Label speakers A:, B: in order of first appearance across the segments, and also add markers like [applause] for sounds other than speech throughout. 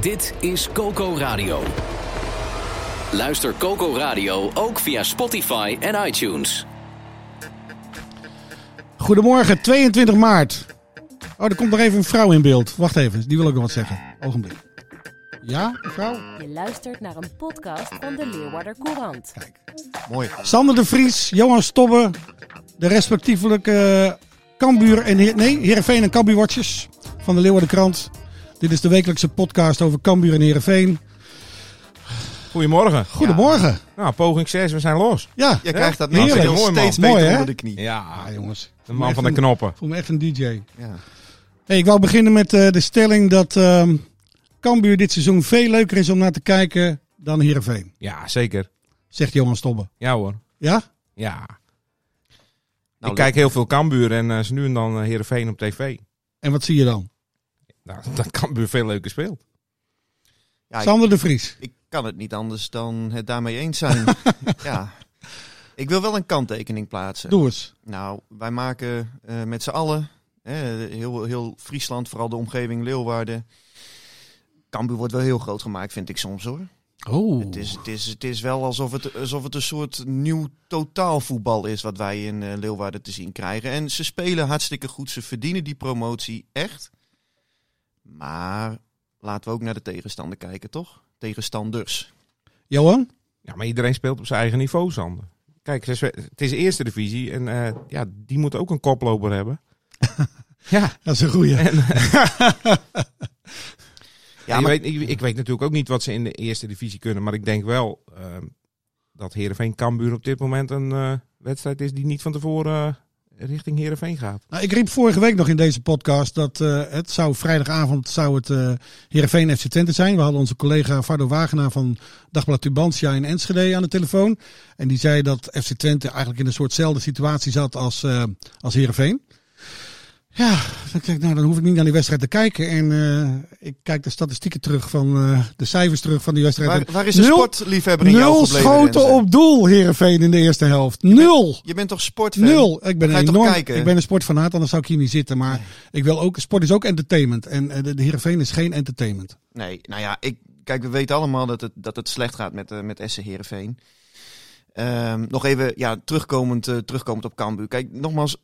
A: Dit is Coco Radio. Luister Coco Radio ook via Spotify en iTunes.
B: Goedemorgen, 22 maart. Oh, er komt nog even een vrouw in beeld. Wacht even, die wil ook nog wat zeggen. Ogenblik. Ja, mevrouw?
C: Je luistert naar een podcast van de Leeuwarder Courant.
D: Mooi.
B: Sander de Vries, Johan Stobbe, de respectievelijke Kambuur en Heer- nee, Heerenveen en Kambuur Watchers van de Leeuwardenkrant. Dit is de wekelijkse podcast over Kambuur en Heerenveen.
E: Goedemorgen.
B: Goedemorgen.
E: Nou, poging 6, we zijn los.
B: Ja,
D: Je krijgt dat
B: Heerlijk.
D: natuurlijk
E: Mooi, man.
D: steeds
B: Mooi,
D: beter
B: hè?
D: onder de knie.
E: Ja,
B: Ah, jongens.
E: de man van de knoppen.
B: Voel me echt een DJ.
D: Ja.
B: Hey, ik wou beginnen met eh, de stelling dat ehm Kambuur dit seizoen veel leuker is om naar te kijken dan Heerenveen.
E: Ja, zeker.
B: Zegt Johan Stobbe.
E: Ja hoor.
B: Ja?
E: Ja.
D: Nou,
E: ik kijk heel veel Kambuur en eh, ze nu en dan eh, Heerenveen op tv.
B: En wat zie je dan?
E: Nou, [laughs] dat Kambuur veel leuker speelt.
D: Ja, ik-
B: Sander de Vries.
D: Ik kan het niet anders dan het daarmee eens zijn. ja. Ik wil wel een kanttekening plaatsen.
B: Doe eens.
D: Nou, wij maken eh, met z'n allen, eh, heel, heel Friesland, vooral de omgeving Leeuwarden. Cambuur wordt wel heel groot gemaakt, vind ik soms hoor.
B: Oh.
D: Het is, het is, het is wel alsof het, alsof het een soort nieuw totaalvoetbal is wat wij in eh, Leeuwarden te zien krijgen. En ze spelen hartstikke goed, ze verdienen die promotie echt. Maar laten we ook naar de tegenstander kijken, toch? Tegenstanders.
B: Johan?
E: Ja, maar iedereen speelt op zijn eigen niveau, Sander. Kijk, ze spe- het is eerste divisie en eh, ja, die moet ook een koploper hebben. [laughs] ja,
B: Dat is een goeie.
E: [laughs]
D: Ja,
E: ik,
D: maar
E: weet, ik, ik weet natuurlijk ook niet wat ze in de eerste divisie kunnen. Maar ik denk wel ehm, dat Heerenveen Kambuur op dit moment een eh, wedstrijd is die niet van tevoren eh, richting Heerenveen gaat.
B: Nou, ik riep vorige week nog in deze podcast dat eh, het zou vrijdagavond zou het eh Heerenveen FC Twente zijn. We hadden onze collega Fardo Wagenaar van Dagblad Tubantia in Enschede aan de telefoon. En die zei dat FC Twente eigenlijk in een soortzelfde situatie zat als, eh als Heerenveen. Ja, dan, denk ik, nou, dan hoef ik niet naar die wedstrijd te kijken. En eh, ik kijk de statistieken terug van eh, de cijfers terug van die wedstrijd.
D: waar, waar is de
B: Nul-
D: sportliefhebber in jou
B: Nul
D: gebleven?
B: schoten
D: Renze?
B: op doel, Heerenveen, in de eerste helft. Nul!
D: Je bent toch sportfan?
B: Nul. Ik ben
D: Ga je
B: een
D: toch
B: enorm.
D: kijken?
B: Ik ben een sportfanaat, anders zou ik hier niet zitten. Maar ik wil ook. Sport is ook entertainment. En eh, de, de Heerenveen is geen entertainment.
D: Nee, nou ja, ik, kijk, we weten allemaal dat het, dat het slecht gaat met, eh, met Essen Heerenveen. Ehm, nog even, ja, terugkomend, eh, terugkomend op Cambuur. Kijk, nogmaals,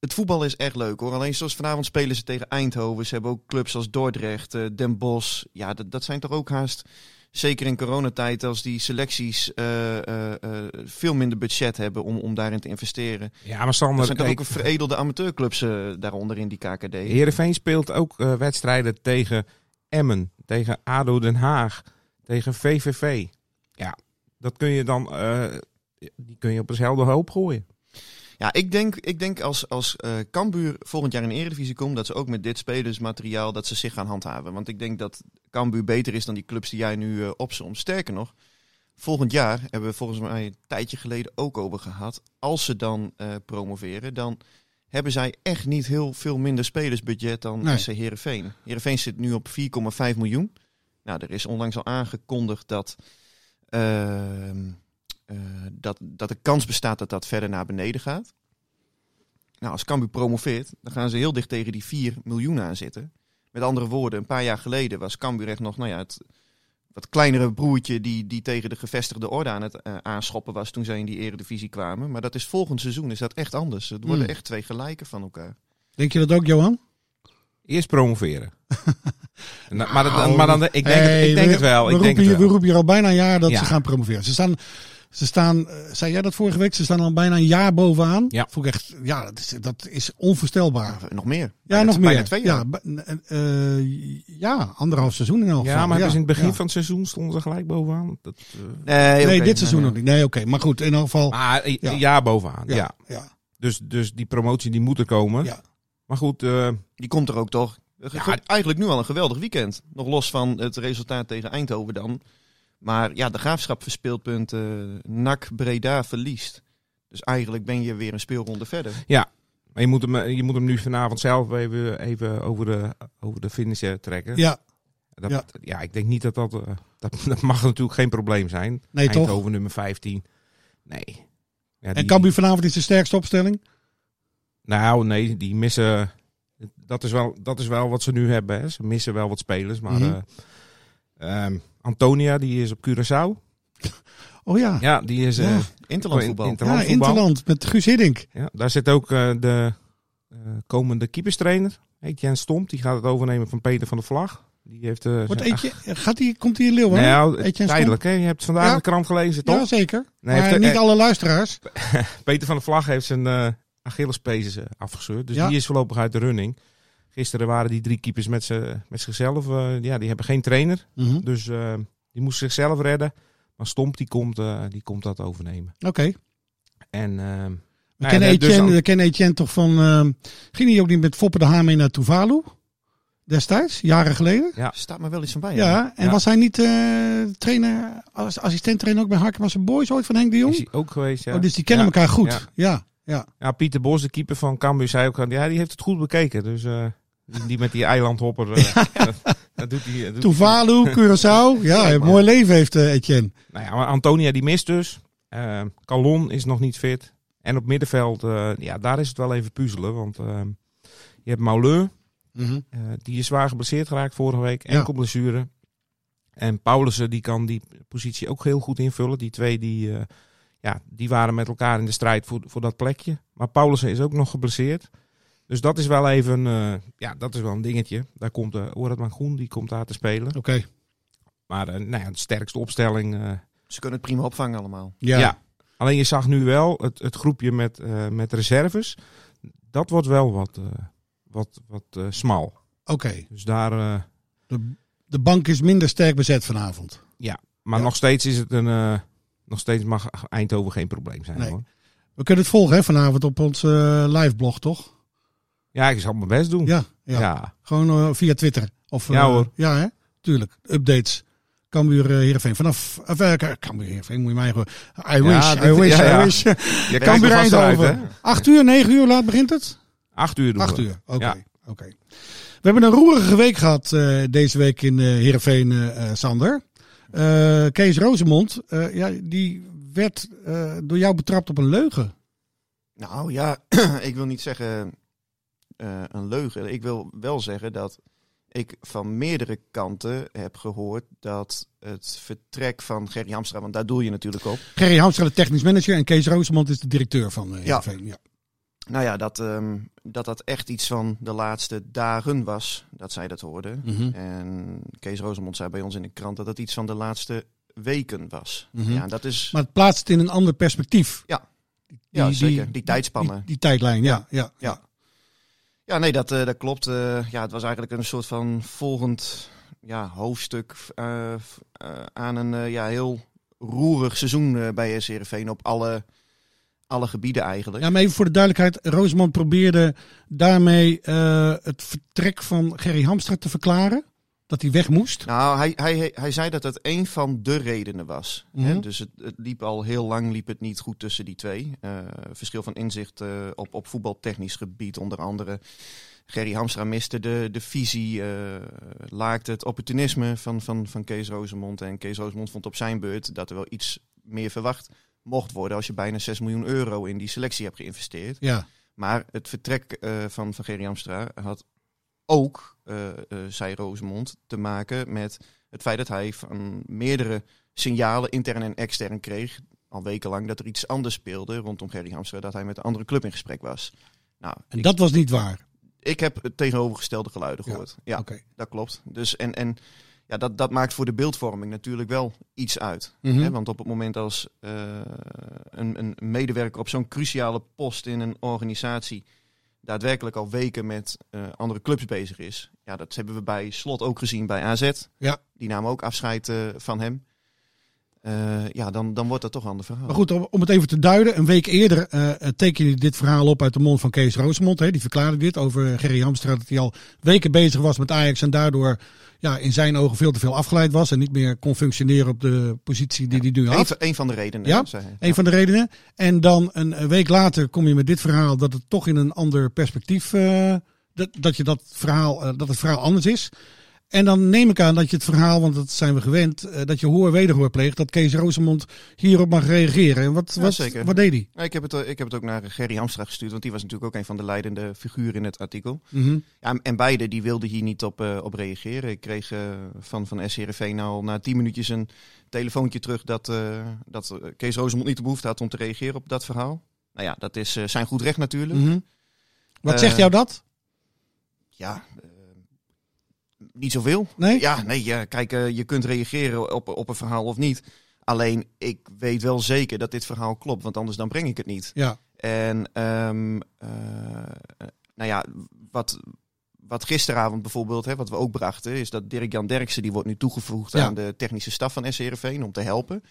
D: het voetbal is echt leuk hoor. Alleen zoals vanavond spelen ze tegen Eindhoven. Ze hebben ook clubs als Dordrecht, eh, Den Bosch. Ja, dat, dat zijn toch ook haast, zeker in coronatijd, als die selecties eh, eh, eh, veel minder budget hebben om, om daarin te investeren.
E: Ja, maar
D: Er
E: Sander,
D: zijn toch ook veredelde amateurclubs eh, daaronder in die KKD.
E: Heerenveen speelt ook eh, wedstrijden tegen Emmen, tegen ADO Den Haag, tegen VVV. Ja, dat kun je dan eh, die kun je op dezelfde hoop gooien.
D: Ja, ik denk, ik denk als, als eh, Cambuur volgend jaar in de Eredivisie komt, dat ze ook met dit spelersmateriaal dat ze zich gaan handhaven. Want ik denk dat Cambuur beter is dan die clubs die jij nu eh, opzomt. Sterker nog, volgend jaar hebben we volgens mij een tijdje geleden ook over gehad. Als ze dan eh, promoveren, dan hebben zij echt niet heel veel minder spelersbudget dan
B: Nee.
D: SC Heerenveen. Heerenveen zit nu op 4,5 miljoen. Nou, er is onlangs al aangekondigd dat... ehm, eh, dat, dat de kans bestaat dat dat verder naar beneden gaat. Nou, als Cambuur promoveert, dan gaan ze heel dicht tegen die 4 miljoen aan zitten. Met andere woorden, een paar jaar geleden was Cambuur echt nog nou ja, het wat kleinere broertje die, die tegen de gevestigde orde aan het eh, aanschoppen was toen zij in die eredivisie kwamen. Maar dat is volgend seizoen is dat echt anders. Het worden
B: Hmm.
D: echt twee gelijken van elkaar.
B: Denk je dat ook, Johan?
E: Eerst
B: [laughs]
E: promoveren. Nou, maar, dat, maar dan, ik denk, het- ik denk
B: we,
E: het wel.
B: We,
E: Ik
B: roepen
E: denk het
B: hier, we
E: wel.
B: roepen hier al bijna een jaar dat
E: Ja.
B: ze gaan promoveren. Ze staan. Ze staan, eh, zei jij dat vorige week? Ze staan al bijna een jaar bovenaan.
E: Ja.
B: Vond ik echt, ja, dat is, dat is onvoorstelbaar.
D: Ah, Nog meer.
B: Ja,
D: Bijna-
B: nog meer.
D: bijna twee jaar.
B: Ja, ba- eh, eh, ja, anderhalf seizoen in elk
E: Ja,
B: geval.
E: maar hebben ze in het begin
B: ja.
E: van het seizoen stonden ze gelijk bovenaan. Dat, eh,
D: Nee,
B: Nee,
D: oké, nou
B: dit seizoen
D: nee,
B: nog niet. Nee, oké. Maar goed, in elk geval.
E: maar eh,
B: Ja.
E: ja. bovenaan. Ja.
B: ja.
E: Dus, dus die promotie die moet er komen.
B: Ja.
E: Maar goed, eh,
D: Die komt er ook toch? Ge- ge- Eigenlijk nu al een geweldig weekend. Nog los van het resultaat tegen Eindhoven dan. Maar ja, de graafschap verspeelt punten. NAC Breda verliest. Dus eigenlijk ben je weer een speelronde verder.
E: Maar je moet hem, eh, je moet hem nu vanavond zelf even, even over, de, over de finish eh, trekken.
B: Ja,
E: Dat,
B: Ja.
E: ja. ik denk niet dat dat, eh, dat... [laughs] Dat mag natuurlijk geen probleem zijn.
B: nee
E: Eindhoven
B: toch?
E: nummer 15. Nee. Ja,
B: En
E: die-
B: Cambuur vanavond is de sterkste opstelling.
E: Nou, nee, die missen... Dat is wel, dat is wel wat ze nu hebben. Hè. Ze missen wel wat spelers, maar...
B: Mhm.
E: eh, ehm, Antonia, die is op Curaçao.
B: Oh ja, ja,
E: Ja, die is... eh,
B: Ja.
D: Interland voetbal.
E: interlandvoetbal.
B: Interland met Guus Hiddink.
E: Ja, daar zit ook eh, de eh, komende keeperstrainer, Etienne Stomp. Die gaat het overnemen van Peter van der Vlag. Die heeft... eh,
B: Wordt
E: zijn-
B: eentje, gaat die, komt hij in Leeuwen?
E: nou,
B: Etienne Stomp?
E: tijdelijk. Hè? Je hebt vandaag
B: Ja.
E: de krant gelezen, toch?
B: Ja, zeker.
E: Nee,
B: maar
E: heeft-
B: niet
E: eh,
B: alle luisteraars.
E: Peter van der Vlag heeft zijn eh Achillespees eh, afgescheurd. Dus
B: Ja.
E: die is voorlopig uit de running. Gisteren waren die drie keepers met, ze, met zichzelf. eh, ja, die hebben geen trainer.
B: Mhm.
E: Dus eh, die moest zichzelf redden. Maar Stomp die komt, eh, die komt dat overnemen.
B: Oké.
E: En,
B: We,
E: eh, nou ja,
B: kennen
E: dus
B: Etienne,
E: dan-
B: we kennen Etienne toch van... ehm, ging hij ook niet met Foppe de Haan mee naar Tuvalu? Destijds, jaren geleden?
D: Staat me wel iets van bij.
B: Ja,
D: hè?
B: en
E: Ja.
B: was hij niet eh, trainer, als assistent trainer ook bij Harkema's Boys ooit van Henk de Jong?
E: is hij ook geweest. Ja.
B: Oh, dus die kennen
E: Ja,
B: elkaar goed. Ja.
E: ja.
B: Ja.
E: Ja, Pieter Bos, de keeper van Cambuur, zei ook... al, Ja, die heeft het goed bekeken. Dus eh, die, die met die
B: [laughs]
E: eilandhopper... eh, dat, dat doet hij... dat doet hij-
B: Tuvalu, Curaçao. Ja, een mooi leven heeft eh, Etienne.
E: Nou ja, maar Antonia die mist dus. Eh, Calon is nog niet fit. En op middenveld, eh, ja, daar is het wel even puzzelen. Want eh, je hebt Mauleur, eh, die is zwaar geblesseerd geraakt vorige week. Enkel blessure. En Paulussen, die kan die positie ook heel goed invullen. Die twee, die, eh, ja, die waren met elkaar in de strijd voor, voor dat plekje. Maar Paulussen is ook nog geblesseerd. Dus dat is wel even, eh, ja, dat is wel een dingetje. Daar komt eh Orad Mangoen, die komt daar te spelen.
B: Oké.
E: Maar eh, nou ja, de sterkste opstelling... eh,
D: Ze kunnen het prima opvangen allemaal.
B: Ja.
E: ja. Alleen je zag nu wel het, het groepje met, eh, met reserves. Dat wordt wel wat, eh, wat, wat eh, smal.
B: Oké.
E: Dus daar, eh,
B: De, de bank is minder sterk bezet vanavond.
E: maar
B: Ja.
E: nog steeds is het een. eh, nog steeds mag Eindhoven geen probleem zijn.
B: Nee.
E: Hoor.
B: We kunnen het volgen hè, vanavond op ons liveblog, live blog, toch?
E: Ja, ik zal mijn best doen.
B: Ja. ja.
E: ja. ja.
B: Gewoon eh, via Twitter. Of,
E: Ja,
B: eh,
E: hoor.
B: Ja, hè? Tuurlijk. Updates. Cambuur eh, Heerenveen. Vanaf... Of, eh, K- Cambuur Heerenveen, moet je mij gewoon... I wish,
E: Ja,
B: I
E: dit-
B: wish,
E: ja, ja.
B: I wish.
E: Je kijkt
B: Cambuur
E: er vast uit, hè?
B: Eindhoven. Acht uur, negen uur laat begint het?
E: Acht uur doen
B: Acht
E: we.
B: uur, oké.
E: Ja.
B: oké. We hebben een roerige week gehad eh, deze week in eh Heerenveen, eh, eh, Sander. Eh, Kees Rozemond, eh, ja, die werd eh, door jou betrapt op een leugen.
D: Nou ja, [clears throat] ik wil niet zeggen eh, een leugen. Ik wil wel zeggen dat ik van meerdere kanten heb gehoord dat het vertrek van Gerry Hamstra, want daar doel je natuurlijk op.
B: Gerry Hamstra, de technisch manager, en Kees Rozemond is de directeur van eh
D: Ja.
B: Heerenveen. Ja.
D: Nou ja, dat, ehm, dat dat echt iets van de laatste dagen was dat zij dat hoorden.
B: Mhm.
D: En Kees Rosemond zei bij ons in de krant dat dat iets van de laatste weken was.
B: Mhm.
D: Ja, dat is
B: Maar het plaatst het in een ander perspectief.
D: Ja. Ja, zeker. Die tijdspannen.
B: Die, die tijdlijn, ja. ja. ja.
D: Ja. Ja, nee, dat, eh, dat klopt. Eh, ja, het was eigenlijk een soort van volgend ja, hoofdstuk eh, f- eh, aan een eh, ja, heel roerig seizoen eh, bij SCRV op alle, alle gebieden eigenlijk.
B: maar even voor de duidelijkheid. Rosemond probeerde daarmee eh, het vertrek van Gerry Hamstra te verklaren. Dat hij weg moest.
D: Nou, hij, hij, hij zei dat dat een van de redenen was.
B: Mhm.
D: Hè? Dus het, het liep al heel lang liep het niet goed tussen die twee. Eh, verschil van inzicht eh, op, op voetbaltechnisch gebied onder andere. Gerry Hamstra miste de, de visie, eh, laakte het opportunisme van, van, van Kees Rozemond. En Kees Rozemond vond op zijn beurt dat er wel iets meer verwacht mocht worden... als je bijna 6 miljoen euro in die selectie hebt geïnvesteerd.
B: Ja.
D: Maar het vertrek eh, van, van Gerry Amstra had ook, eh eh, zei Rosemond, te maken met het feit dat hij van meerdere signalen, intern en extern, kreeg. Al wekenlang dat er iets anders speelde rondom Gerry Hamstra, dat hij met een andere club in gesprek was. Nou,
B: En
D: ik,
B: dat was niet waar.
D: ik heb het tegenovergestelde geluiden
B: Ja,
D: gehoord. Ja,
B: Oké.
D: dat klopt. Dus en, en ja, dat, dat maakt voor de beeldvorming natuurlijk wel iets uit.
B: Mhm.
D: Hè, want op het moment als eh, een, een medewerker op zo'n cruciale post in een organisatie daadwerkelijk al weken met eh, andere clubs bezig is. Ja, dat hebben we bij Slot ook gezien bij AZ.
B: Ja.
D: Die namen ook afscheid eh, van hem. Eh, eh, ja, dan, dan wordt dat toch een ander verhaal.
B: Maar goed, om, om het even te duiden. Een week eerder eh teken je dit verhaal op uit de mond van Kees Roosemond. Hè, die verklaarde dit over Gerry Hamstra. Dat hij al weken bezig was met Ajax. En daardoor ja, in zijn ogen veel te veel afgeleid was. En niet meer kon functioneren op de positie die hij nu had.
D: Eén van- één van de redenen.
B: Ja,
D: zei hij.
B: Een van de redenen. En dan een eh, week later kom je met dit verhaal dat het toch in een ander perspectief. eh, dat, dat, je dat, verhaal, eh, dat het verhaal anders is. En dan neem ik aan dat je het verhaal, want dat zijn we gewend, eh, dat je hoor wederhoor pleegt. Dat Kees Rosemond hierop mag reageren. En wat,
D: Ja,
B: wat,
D: zeker.
B: wat deed hij?
D: Ja, ik, heb het, eh, ik heb het ook naar Gerry Hamstra gestuurd, want die was natuurlijk ook een van de leidende figuren in het artikel.
B: Mhm.
D: Ja, en beide die wilden hier niet op, eh, op reageren. Ik kreeg eh, van, van SCRV nou al na tien minuutjes een telefoontje terug dat, eh, dat eh, Kees Rosemond niet de behoefte had om te reageren op dat verhaal. Nou ja, dat is eh, zijn goed recht natuurlijk.
B: Mhm. Wat
D: Eh,
B: zegt jou dat?
D: Ja, eh, niet zoveel.
B: Nee?
D: Ja, nee, ja, kijk, eh, je kunt reageren op, op een verhaal of niet. Alleen, ik weet wel zeker dat dit verhaal klopt, want anders dan breng ik het niet.
B: Ja.
D: En ehm, eh, nou ja, wat, wat gisteravond bijvoorbeeld, hè, wat we ook brachten, is dat Dirk-Jan Derksen, die wordt nu toegevoegd
B: Ja.
D: aan de technische staf van SCRV om te helpen.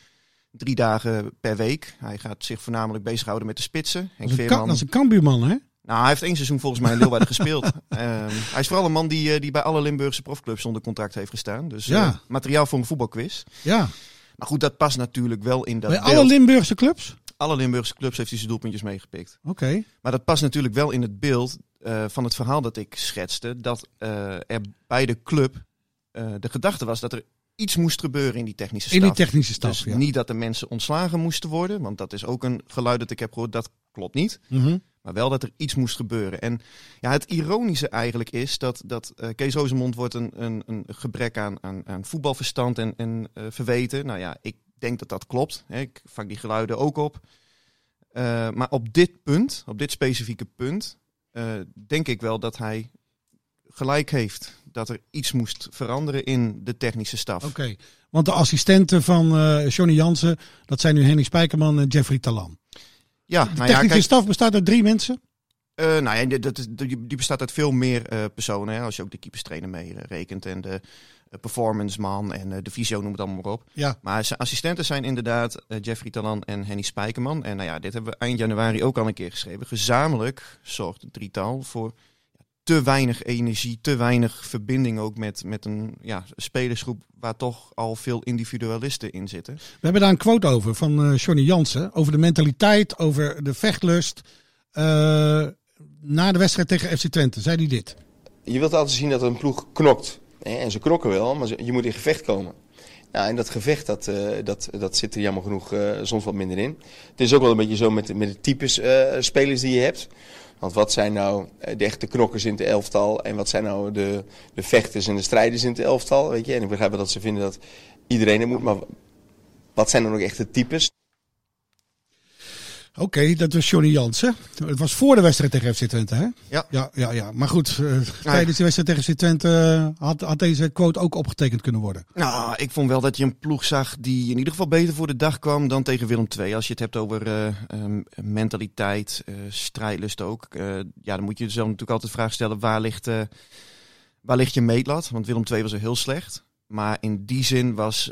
D: Drie dagen per week. Hij gaat zich voornamelijk bezighouden met de spitsen. Henk
B: Dat is een, ka-
D: Veerman.
B: dat is een Cambuurman, hè?
D: Nou, hij heeft één seizoen volgens mij in Leeuwarden [laughs] gespeeld. Ehm, hij is vooral een man die, eh, die bij alle Limburgse profclubs onder contract heeft gestaan. Dus
B: Ja.
D: eh, materiaal voor een voetbalquiz.
B: Ja.
D: Maar goed, dat past natuurlijk wel in dat
B: Bij
D: beeld.
B: alle Limburgse clubs?
D: alle Limburgse clubs heeft hij zijn doelpuntjes meegepikt.
B: Oké.
D: Maar dat past natuurlijk wel in het beeld eh, van het verhaal dat ik schetste. Dat eh, er bij de club eh, de gedachte was dat er iets moest gebeuren in die technische staf.
B: In die technische staf,
D: dus
B: ja.
D: niet dat de mensen ontslagen moesten worden. Want dat is ook een geluid dat ik heb gehoord. Dat klopt niet.
B: Mhm.
D: Maar wel dat er iets moest gebeuren. En ja, het ironische eigenlijk is dat, dat eh, Kees Ozemond wordt een, een, een gebrek aan, aan, aan voetbalverstand en, en eh, verweten. Nou ja, ik denk dat dat klopt. Hè. Ik vang die geluiden ook op. Eh, maar op dit punt, op dit specifieke punt, eh, denk ik wel dat hij gelijk heeft. Dat er iets moest veranderen in de technische staf.
B: Oké. Want de assistenten van eh, Johnny Jansen, dat zijn nu Henny Spijkerman en Jeffrey Talan.
D: Ja,
B: De
D: nou ja,
B: technische
D: kijk,
B: staf bestaat uit drie mensen.
D: Eh, nou ja, dat is, die die bestaat uit veel meer eh, personen. Hè, als je ook de keeperstrainer mee eh, rekent en de eh, performance man en eh, de visio, noem het allemaal maar op.
B: Ja.
D: Maar zijn assistenten zijn inderdaad eh, Jeffrey Talan en Henny Spijkerman. En nou ja, dit hebben we eind januari ook al een keer geschreven. Gezamenlijk zorgt het drietal voor te weinig energie, te weinig verbinding ook met, met een ja, spelersgroep waar toch al veel individualisten in zitten.
B: We hebben daar een quote over van eh, Johnny Jansen. Over de mentaliteit, over de vechtlust. Eh, na de wedstrijd tegen FC Twente zei hij dit.
F: je wilt altijd zien dat een ploeg knokt. Hè? En ze knokken wel, maar ze- je moet in gevecht komen. Nou, en dat gevecht, dat, eh, dat, dat zit er jammer genoeg eh, soms wat minder in. Het is ook wel een beetje zo met, met de types eh, spelers die je hebt. Want wat zijn nou eh, de echte knokkers in het elftal en wat zijn nou de, de vechters en de strijders in het elftal? Weet je? En ik begrijp wel dat ze vinden dat iedereen het moet, maar wat zijn dan ook echte types?
B: Oké, dat was Johnny Jansen. Het was voor de wedstrijd tegen FC Twente, hè?
D: Ja.
B: Ja, ja, ja. Maar goed, eh, tijdens de wedstrijd tegen FC Twente eh, had, had deze quote ook opgetekend kunnen worden.
D: Nou, ik vond wel dat je een ploeg zag die in ieder geval beter voor de dag kwam dan tegen Willem II. Als je het hebt over eh, ehm, mentaliteit, eh, strijdlust ook. Eh, ja, dan moet je jezelf natuurlijk altijd de vraag stellen, waar ligt, eh, waar ligt je meetlat? Want Willem II was er heel slecht. Maar in die zin was,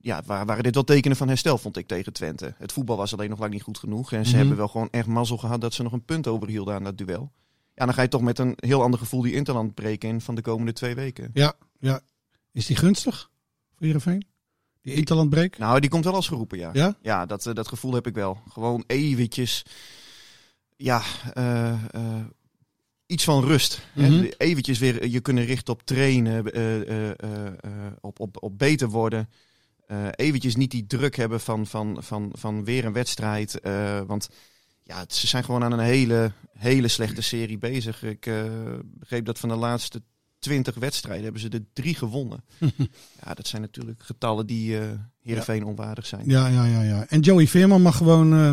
D: ja, wa- waren dit wel tekenen van herstel, vond ik, tegen Twente. Het voetbal was alleen nog lang niet goed genoeg. En ze
B: Mhm.
D: hebben wel gewoon echt mazzel gehad dat ze nog een punt overhielden aan dat duel. Ja, dan ga je toch met een heel ander gevoel die Interland breken in van de komende twee weken.
B: Ja, ja. Is die gunstig voor Heerenveen? Die interlandbreek?
D: Nou, die komt wel als geroepen, ja.
B: Ja?
D: Ja, dat, eh, dat gevoel heb ik wel. Gewoon eventjes, ja, eh, eh, iets van rust.
B: Mhm.
D: Hè? Eventjes weer eh, je kunnen richten op trainen, eh, eh, eh, eh, op, op, op beter worden. Eh, eventjes niet die druk hebben van, van, van, van weer een wedstrijd. eh, want ja, het- ze zijn gewoon aan een hele, hele slechte serie bezig. Ik eh, begreep dat van de laatste twintig wedstrijden hebben ze er drie
B: [laughs]
D: gewonnen. ja, dat zijn natuurlijk getallen die eh Heerenveen onwaardig zijn.
B: Ja, ja, ja, ja. En Joey Veerman mag gewoon eh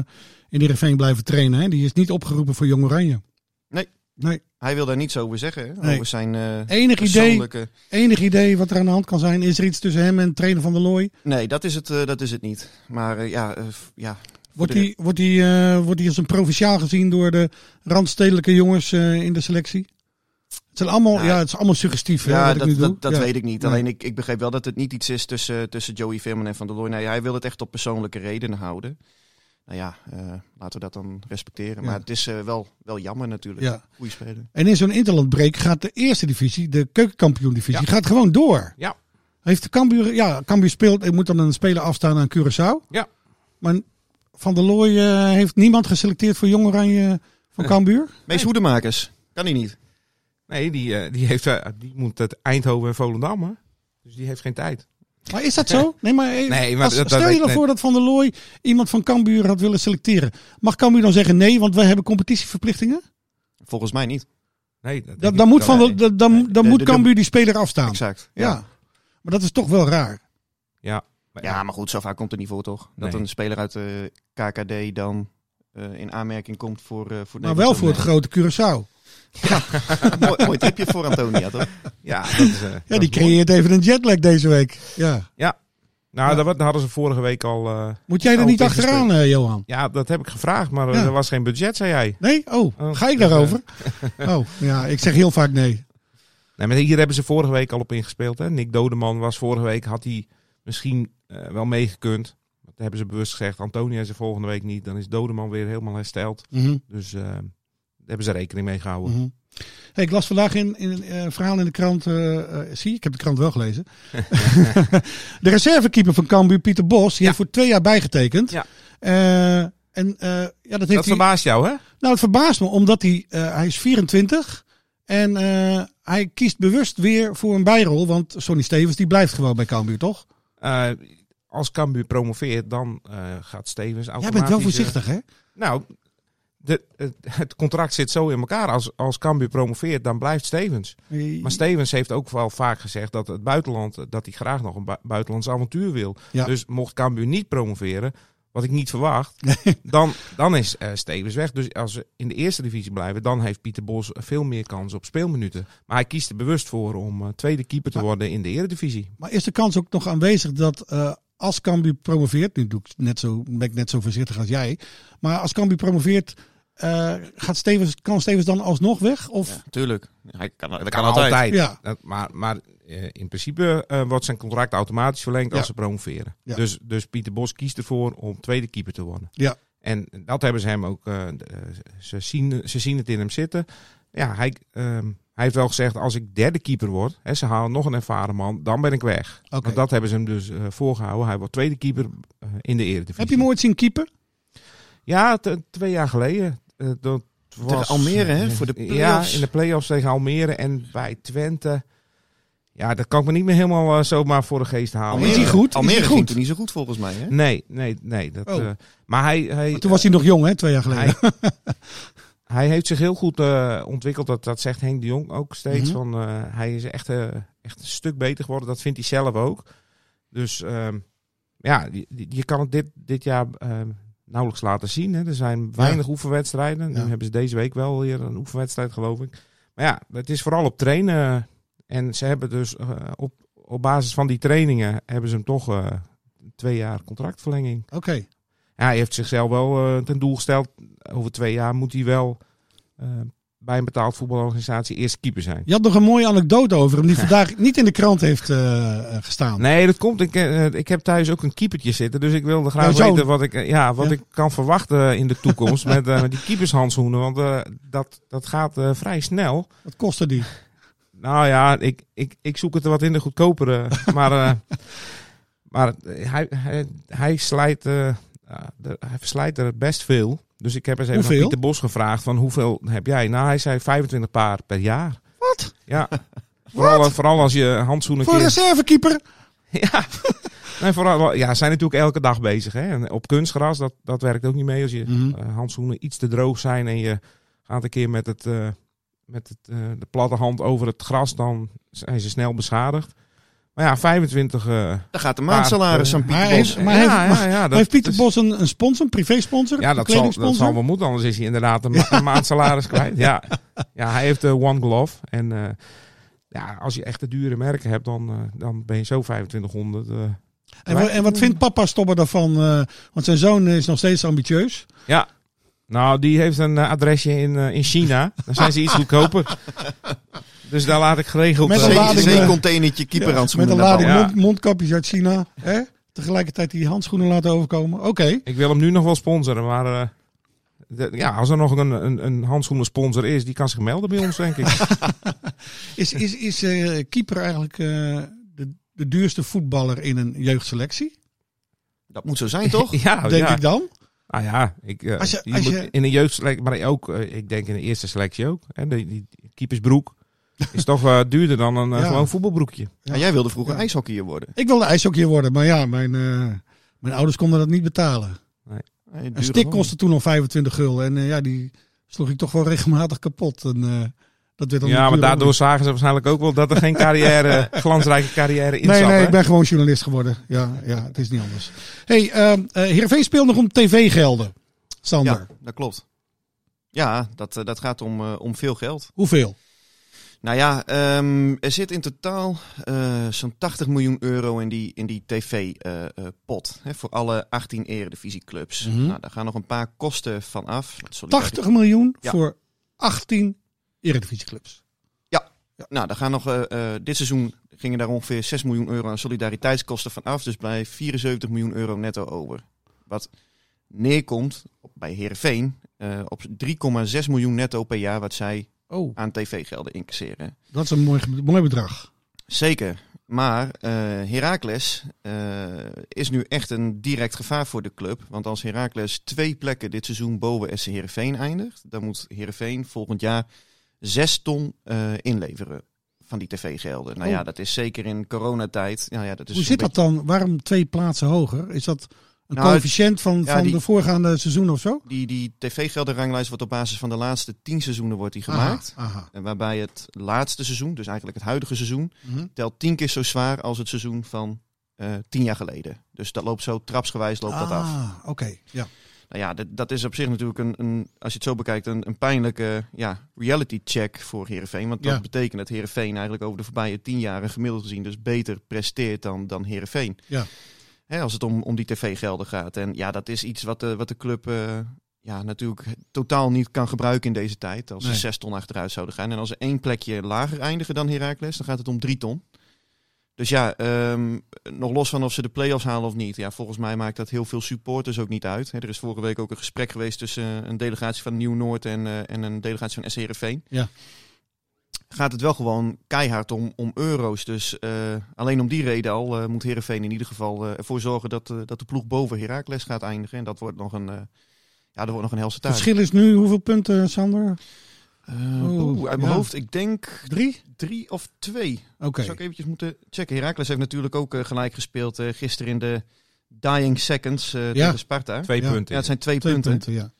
B: in Heerenveen blijven trainen. Hè? Die is niet opgeroepen voor Jong Oranje.
D: Nee.
B: Nee.
D: Hij wil daar niets over zeggen. Hè?
B: Nee.
D: Over zijn eh
B: Enig idee,
D: persoonlijke.
B: enig idee wat er aan de hand kan zijn. Is er iets tussen hem en trainer van der Looy?
D: Nee, dat is het, eh, dat is het niet. Maar eh, ja, eh, f- ja.
B: Wordt hij wordt die, eh, wordt die als een provinciaal gezien door de randstedelijke jongens eh, in de selectie? Het, zijn allemaal, ja,
D: Ja,
B: het is allemaal suggestief. hè,
D: Nou, Ja,
B: wat ik
D: dat,
B: nu doe.
D: dat, dat
B: Ja.
D: weet ik niet.
B: Nee.
D: Alleen ik, ik begreep wel dat het niet iets is tussen, tussen Joey Veerman en Van der Looy. Nee, hij wil het echt op persoonlijke redenen houden. Nou ja, eh, laten we dat dan respecteren.
B: Ja.
D: Maar het is eh, wel, wel jammer natuurlijk.
B: Ja.
D: Goeie speler.
B: En in zo'n interlandbreek gaat de eerste divisie, de keukenkampioen-divisie,
E: Ja.
B: gaat gewoon door.
E: Ja.
B: Heeft de Cambuur, ja, Cambuur speelt, ik moet dan een speler afstaan aan Curaçao.
E: Ja.
B: Maar Van der Looy eh, heeft niemand geselecteerd voor Jong Oranje van
E: [laughs] Eh.
B: Cambuur.
D: Mees Hoedemakers. Kan hij niet.
E: Nee, die, eh, die, heeft, eh, die moet het Eindhoven en Volendam, hè? Dus die heeft geen tijd.
B: Maar is dat zo? Nee, maar, eh,
E: Nee, maar
B: als-
E: dat- dat
B: stel je
E: weet-
B: dan
E: nee.
B: voor dat Van der Looy iemand van Cambuur had willen selecteren. Mag Cambuur dan zeggen nee, want wij hebben competitieverplichtingen?
D: Volgens mij niet.
E: Nee, dat
B: Dan,
E: denk
B: dan
E: ik
B: moet,
E: wel.
B: van der- dan, dan, dan
D: de-
B: moet
D: de- de-
B: Cambuur die speler afstaan.
D: Exact.
B: Ja.
D: Ja.
B: Maar dat is toch wel raar.
E: Ja, maar,
D: ja, maar goed, zo vaak komt het niet voor toch? Dat
E: Nee.
D: een speler uit eh, de KKD dan eh, in aanmerking komt voor, eh voor
B: Maar
D: Nederland.
B: wel voor het grote Curaçao.
D: mooi, mooi tipje voor Antonia toch?
E: ja, dat is,
B: [laughs]
E: eh,
B: Ja,
E: dat
B: die
E: is mooi.
B: creëert even een jetlag deze week. Ja.
E: Nou,
B: Ja.
E: daar, wa- daar hadden ze vorige week al... eh,
B: Moet jij er
E: Oh,
B: niet
E: tegen
B: achteraan, eh, Johan?
E: ja, dat heb ik gevraagd, maar eh,
B: Ja.
E: er was geen budget, zei jij.
B: Nee? Oh,
E: Oh,
B: ga ik
E: dus, [laughs]
B: daarover? Oh, ja, ik zeg heel vaak nee.
E: Nee, maar hier hebben ze vorige week al op ingespeeld. Hè? Nick Dodeman was vorige week, had hij misschien eh, wel meegekund. Dat hebben ze bewust gezegd. Antonia is er volgende week niet. Dan is Dodeman weer helemaal hersteld.
B: Mhm,
E: Dus eh, daar hebben ze rekening mee gehouden.
B: mhm. Hey, ik las vandaag in, in een eh, verhaal in de krant. eh, eh, zie, ik heb de krant wel
E: [laughs]
B: gelezen. de reservekeeper van Cambuur, Pieter Bos, die
E: Ja.
B: heeft voor twee jaar bijgetekend.
E: Ja.
B: Eh, en eh, ja, dat heeft
E: Dat
B: hij
E: verbaast jou, hè?
B: Nou, het verbaast me, omdat hij, eh, hij is 24 en eh, hij kiest bewust weer voor een bijrol. Want Sonny Stevens die blijft gewoon bij Cambuur, toch?
E: Eh, als Cambuur promoveert, dan eh, gaat Stevens automatisch...
B: Jij bent wel
E: eh,
B: voorzichtig, hè?
E: nou, de, het, het contract zit zo in elkaar. Als, als Cambuur promoveert, dan blijft Stevens. Maar Stevens heeft ook wel vaak gezegd dat het buitenland... eh, dat hij graag nog een bui- buitenlands avontuur wil.
B: Ja.
E: Dus mocht Cambuur niet promoveren, wat ik niet verwacht... dan, dan is eh, Stevens weg. Dus als we in de eerste divisie blijven... dan heeft Pieter Bos veel meer kans op speelminuten. Maar hij kiest er bewust voor om eh, tweede keeper te worden in de eredivisie.
B: Maar is de kans ook nog aanwezig dat eh, als Cambuur promoveert, nu doe ik net zo, ben ik net zo voorzichtig als jij, maar als Cambuur promoveert, eh, gaat Stevens, kan Stevens dan alsnog weg? Of
D: Ja, tuurlijk. Hij kan, Nou, dat kan,
B: ja.
E: Dat- maar maar eh, in principe eh, wordt zijn contract automatisch verlengd
B: Ja.
E: als ze promoveren.
B: Ja.
E: Dus, dus Pieter Bos kiest ervoor om tweede keeper te worden.
B: Ja.
E: En dat hebben ze hem ook. eh, eh, ze, zien, ze zien het in hem zitten. Ja, hij, ehm, hij heeft wel gezegd: als ik derde keeper word, hè, ze halen nog een ervaren man, dan ben ik weg.
B: Oké.
E: Want dat hebben ze hem dus eh, voorgehouden. Hij wordt tweede keeper eh, in de Eredivisie.
B: Heb je hem ooit zien keeper?
E: Ja, t- twee jaar geleden. Eh, dat was, eh,
D: Tegen Almere, hè, voor de
E: Ja,
D: play-offs.
E: in de play-offs tegen Almere en bij Twente. Ja, dat kan ik me niet meer helemaal eh, zomaar voor de geest halen.
B: Almere. Is hij goed? Is
D: Almere
B: hij
D: ging
B: goed?
D: toen niet zo goed volgens mij. Hè?
E: Nee, nee, nee. Dat,
B: Oh.
E: eh, maar hij, hij,
B: Toen was hij nog jong, hè? Twee jaar geleden.
E: hij,
B: [laughs]
E: hij heeft zich heel goed eh, ontwikkeld. Dat, dat zegt Henk de Jong ook steeds.
B: Mhm.
E: van, eh, hij is echt, eh, echt een stuk beter geworden. Dat vindt hij zelf ook. Dus ehm, ja, je, je kan het dit, dit jaar ehm, nauwelijks laten zien. Hè. Er zijn weinig oefenwedstrijden.
B: Ja.
E: Nu hebben ze deze week wel weer een oefenwedstrijd, geloof ik. Maar ja, het is vooral op trainen. En ze hebben dus eh, op, op basis van die trainingen... hebben ze hem toch eh, twee jaar contractverlenging.
B: Oké.
E: Ja, hij heeft zichzelf wel eh, ten doel gesteld. Over twee jaar moet hij wel eh, bij een betaald voetbalorganisatie eerste keeper zijn.
B: Je had nog een mooie anekdote over hem die vandaag niet in de krant heeft eh, eh, gestaan.
E: Nee, dat komt. Ik, eh, ik heb thuis ook een keepertje zitten. Dus ik wilde
B: Jouw
E: graag
B: zoon?
E: weten wat, ik, eh, ja, wat
B: Ja.
E: ik kan verwachten in de
B: [laughs]
E: toekomst met, eh, met die keepershandschoenen. Want eh, dat, dat gaat eh, vrij snel.
B: Wat kostte die?
E: Nou ja, ik, ik, ik zoek het er wat in de
B: [laughs]
E: goedkopere. maar eh, maar eh, hij, hij, hij, slijt, eh, ja, de- hij verslijt er best veel. Dus ik heb eens even aan
B: Hoeveel?
E: Pieter Bos gevraagd van hoeveel heb jij? Nou, hij zei 25 paar per jaar.
B: Wat? [laughs]
E: Ja. Vooral, vooral als je handschoenen...
B: Voor een
E: keer-
B: reservekeeper? [laughs]
E: ja. Nee, vooral, ja, ze zijn natuurlijk elke dag bezig. Hè? En op kunstgras, dat, dat werkt ook niet mee. Als je
B: Mhm.
E: eh, handschoenen iets te droog zijn en je gaat een keer met, het, eh, met het, eh, de platte hand over het gras, dan zijn ze snel beschadigd. Maar ja, 25. eh,
D: Dan gaat de
E: Maar,
D: maandsalaris
E: eh,
D: aan Pieter
B: maar
D: Bos.
B: heeft- Maar
E: ja,
B: heeft-
E: ja, ja, dat-
B: heeft Pieter
E: dus-
B: Bos een, een sponsor, een privé-sponsor?
E: Ja,
B: een
E: dat zal, dat
B: kledingsponsor?
E: zal wel moeten, anders is hij inderdaad een, ma- een
B: [laughs]
E: maand salaris kwijt. Ja. ja, hij heeft de One Glove. En eh, ja, als je echt de dure merken hebt, dan, eh, dan ben je zo 2500. eh.
B: en, wa- en wat vindt papa Stobber daarvan? eh, want zijn zoon is nog steeds ambitieus.
E: Ja. Nou, die heeft een eh, adresje in, eh, in China. Dan zijn ze iets goedkoper. Dus daar laat ik geregeld...
B: Met
E: eh,
B: een lading,
E: zeker-
B: eh,
D: containertje keeper aan het
B: Met
D: schoenen
B: een
D: naar
B: lading
E: Ja.
B: mond- mondkapjes uit China. Hè? Tegelijkertijd die handschoenen laten overkomen. Oké.
E: Ik wil hem nu nog wel sponsoren, maar... eh, de- ja, als er nog een, een, een handschoenen sponsor is, die kan zich melden bij ons, denk ik.
B: Is, is, is eh, keeper eigenlijk eh, de, de duurste voetballer in een jeugdselectie?
D: Dat moet zo zijn, toch?
E: [laughs] ja,
B: Denk
E: Oh, ja.
B: ik dan.
E: Nou ja, ik, eh,
B: Als je-
E: je
B: als
E: moet
B: je-
E: in de jeugdselectie, maar ook, eh, ik denk in de eerste selectie ook. Hè, de, die keepersbroek is toch eh, duurder dan een eh,
B: [laughs] Ja.
E: gewoon voetbalbroekje.
D: Ja, jij wilde vroeger ijshockeyer worden.
B: Ik wilde ijshockeyer worden, maar ja, mijn, eh, mijn ouders konden dat niet betalen.
D: Ja, duurde
B: Een stik
D: wel.
B: kostte toen al 25 gul. En eh, ja, die sloeg ik toch wel regelmatig kapot. En, eh, dat werd dan
E: Ja, maar
B: natuurlijk-
E: daardoor zagen ze waarschijnlijk ook wel dat er geen carrière, [laughs] glansrijke carrière in
B: Nee,
E: zat.
B: nee,
E: hè?
B: ik ben gewoon journalist geworden. Ja, ja het is niet anders. hey, ehm eh, Heerenveen speelt nog om tv-gelden. Sander,
D: Ja, dat klopt. Ja, dat, eh, dat gaat om, eh, om veel geld.
B: hoeveel?
D: Nou ja, ehm, er zit in totaal eh, zo'n 80 miljoen euro in die, in die eh, tv-pot. voor alle 18 eredivisieclubs.
B: Mhm.
D: Nou, daar gaan nog een paar kosten van af. Dat solidariteit-
B: 80 miljoen
D: Ja.
B: voor 18 eredivisieclubs.
D: Nou, daar gaan nog, eh, eh, dit seizoen gingen daar ongeveer 6 miljoen euro aan solidariteitskosten van af. Dus bij 74 miljoen euro netto over. Wat neerkomt op- bij Heerenveen eh, op 3,6 miljoen netto per jaar wat zij
B: Oh,
D: aan tv-gelden incasseren.
B: dat is een mooi, ge- mooi bedrag.
D: Zeker. Maar eh Heracles eh, is nu echt een direct gevaar voor de club. Want als Heracles twee plekken dit seizoen boven SC Heerenveen eindigt... dan moet Heerenveen volgend jaar zes ton eh, inleveren van die tv-gelden. Nou
B: Oh.
D: ja, dat is zeker in coronatijd. Nou ja, dat is
B: Hoe
D: een
B: zit dat
D: beetje-
B: dan? Waarom twee plaatsen hoger? Is dat een
D: Nou,
B: coëfficiënt van,
D: ja,
B: van
D: die-
B: de voorgaande seizoen of zo?
D: Die, die tv-geldenranglijst wordt op basis van de laatste tien seizoenen wordt die gemaakt.
B: Aha, aha.
D: En Eh, Waarbij het laatste seizoen, dus eigenlijk het huidige seizoen...
B: Mhm.
D: telt tien keer zo zwaar als het seizoen van eh, tien jaar geleden. Dus dat loopt zo trapsgewijs loopt dat af.
B: Ah, oké. Ja.
D: Nou ja, dat, dat is op zich natuurlijk een, een als je het zo bekijkt, een, een pijnlijke ja, reality check voor Herenveen. Want dat
B: Ja.
D: betekent dat Herenveen eigenlijk over de voorbije tien jaren gemiddeld gezien dus beter presteert dan, dan Herenveen.
B: Ja.
D: Hè, als het om, om die tv-gelden gaat. En ja, dat is iets wat de, wat de club eh, ja, natuurlijk totaal niet kan gebruiken in deze tijd. Als
B: Nee.
D: ze zes ton achteruit zouden gaan. En als ze één plekje lager eindigen dan Heracles, dan gaat het om drie ton. Dus ja, ehm, nog los van of ze de play-offs halen of niet. Ja, volgens mij maakt dat heel veel supporters ook niet uit. Hè, er is vorige week ook een gesprek geweest tussen eh, een delegatie van Nieuw-Noord en, eh, en een delegatie van SC Heerenveen.
B: Ja.
D: Gaat het wel gewoon keihard om, om euro's. Dus eh, alleen om die reden al eh, moet Heerenveen in ieder geval eh, ervoor zorgen dat, eh, dat de ploeg boven Heracles gaat eindigen. En dat wordt nog een, eh, ja, dat wordt nog een helse
B: Het
D: taak.
B: verschil is nu hoeveel punten, Sander?
D: Eh,
B: Oeh,
D: oeh, uit mijn
B: ja.
D: hoofd, ik denk
B: Drie?
D: drie of twee.
B: Oké.
D: Zou ik eventjes moeten checken. Heracles heeft natuurlijk ook eh, gelijk gespeeld eh, gisteren in de dying seconds eh, tegen Sparta.
E: Twee
B: Ja.
D: Ja,
E: punten.
D: het zijn twee,
B: Twee
D: punten.
B: punten, ja.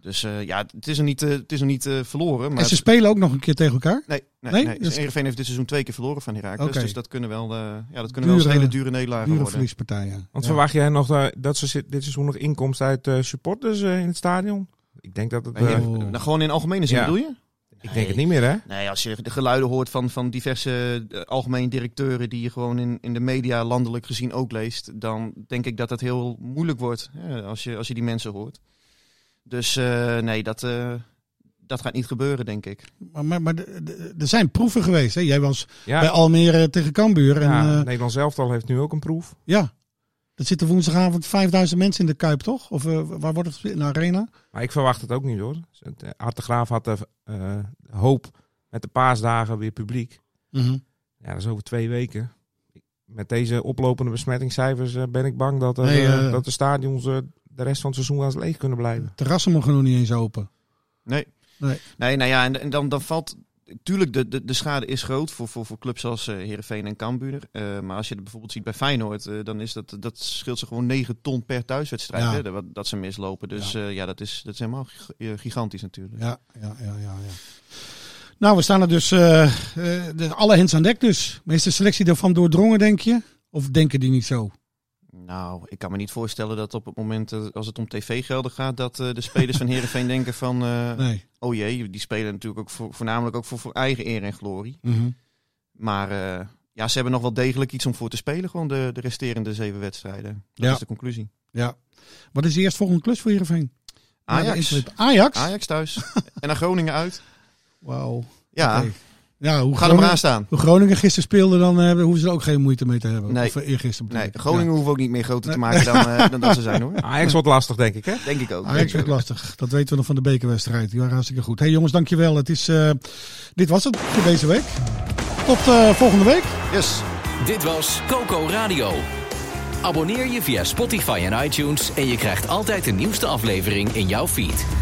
D: Dus eh, ja, het is nog niet, eh, het is nog niet eh, verloren. Maar
B: en ze spelen ook nog een keer tegen elkaar.
D: Nee, nee,
B: Nee?
D: nee?
B: Dus-
D: Heerenveen heeft dit seizoen twee keer verloren van Heracles.
B: Oké.
D: Dus dat kunnen wel, eh, ja, dat kunnen wel
B: Dure-
D: eens hele dure nederlagen
B: Dure
D: worden.
B: verliespartijen.
E: Want
B: Ja.
E: verwacht jij nog eh, dat ze zit- dit seizoen nog inkomst uit eh, supporters eh, in het stadion? Ik denk dat het...
D: Bij
E: eh,
D: Heer-
B: Oh.
D: nou, gewoon in algemene zin
E: Ja.
D: bedoel je?
E: Ik denk het niet meer, hè?
D: Nee, als je de geluiden hoort van, van diverse eh, algemeen directeuren die je gewoon in, in de media landelijk gezien ook leest, dan denk ik dat dat heel moeilijk wordt hè, als, je, als je die mensen hoort. Dus eh, nee, dat, eh, dat gaat niet gebeuren, denk ik.
B: Maar, maar, maar de- de- er zijn proeven geweest. Hè? Jij was
E: Ja,
B: bij Almere tegen Cambuur. En, eh,
E: ja,
B: ja,
E: Nederland zelf al heeft nu ook een proef.
B: ja, dat zitten woensdagavond 5000 mensen in de Kuip, toch? Of eh, waar wordt het? gespeeld? In de Arena?
E: Maar ik verwacht het ook niet, hoor. Het, eh, Art de Graaf had de eh, hoop met de paasdagen weer publiek.
D: Mhm.
E: Ja, dat is over twee weken. Met deze oplopende besmettingscijfers eh, ben ik bang dat, er,
B: Nee,
E: eh,
B: eh,
E: dat de stadions eh, de rest van het seizoen wel eens leeg kunnen blijven.
B: Terrassen mogen nog niet eens open.
D: Nee.
B: Nee.
D: Nee, nou ja, en, en dan, dan valt... Tuurlijk, de, de, de schade is groot voor, voor, voor clubs als eh, Heerenveen en Cambuur. Eh, maar als je het bijvoorbeeld ziet bij Feyenoord, eh, dan is dat, dat scheelt ze gewoon 9 ton per thuiswedstrijd.
B: Ja.
D: Hè, dat, dat ze mislopen. Dus
B: Ja.
D: ja, ja dat, is, dat is helemaal gig- eh, gigantisch natuurlijk.
B: Ja, ja, ja, ja. ja. Nou, we staan er dus eh, eh, de- alle hens aan dek dus. Maar is de selectie daarvan doordrongen, denk je? Of denken die niet zo?
D: Nou, ik kan me niet voorstellen dat op het moment eh, als het om tv-gelden gaat, dat eh, de spelers van Heerenveen [laughs] denken van, eh,
B: Nee.
D: oh jee, die spelen natuurlijk ook voor, voornamelijk ook voor, voor eigen eer en glorie.
B: Mhm.
D: Maar eh, ja, ze hebben nog wel degelijk iets om voor te spelen, gewoon de, de resterende zeven wedstrijden. Dat
B: Ja.
D: is de conclusie.
B: Ja. Wat is de eerstvolgende klus voor Heerenveen? Na de
D: Ajax.
B: interwip. Ajax? [laughs]
D: Ajax thuis. en naar Groningen uit.
B: Wauw.
D: Ja,
B: Oké. Ja, hoe
D: Ga er maar
B: Groningen,
D: aan staan.
B: hoe Groningen gisteren speelde, dan eh, hoeven ze er ook geen moeite mee te hebben.
D: Nee.
B: Of eh, eergisteren. bedoel
D: Nee,
B: ik.
D: Groningen hoeven ook niet meer groter te maken dan, eh, dan dat ze
B: [laughs]
D: zijn hoor.
E: Ajax wordt lastig, denk ik, hè?
D: Denk ik ook.
B: Ja, Ajax
D: Denk
B: werd
D: ik ook.
B: lastig. Dat weten we nog van de bekerwedstrijd. Die waren hartstikke goed. Hey jongens, dankjewel. Het is, eh, dit was het voor deze week. Tot eh, volgende week.
D: Yes.
A: Dit was Coco Radio. Abonneer je via Spotify en iTunes en je krijgt altijd de nieuwste aflevering in jouw feed.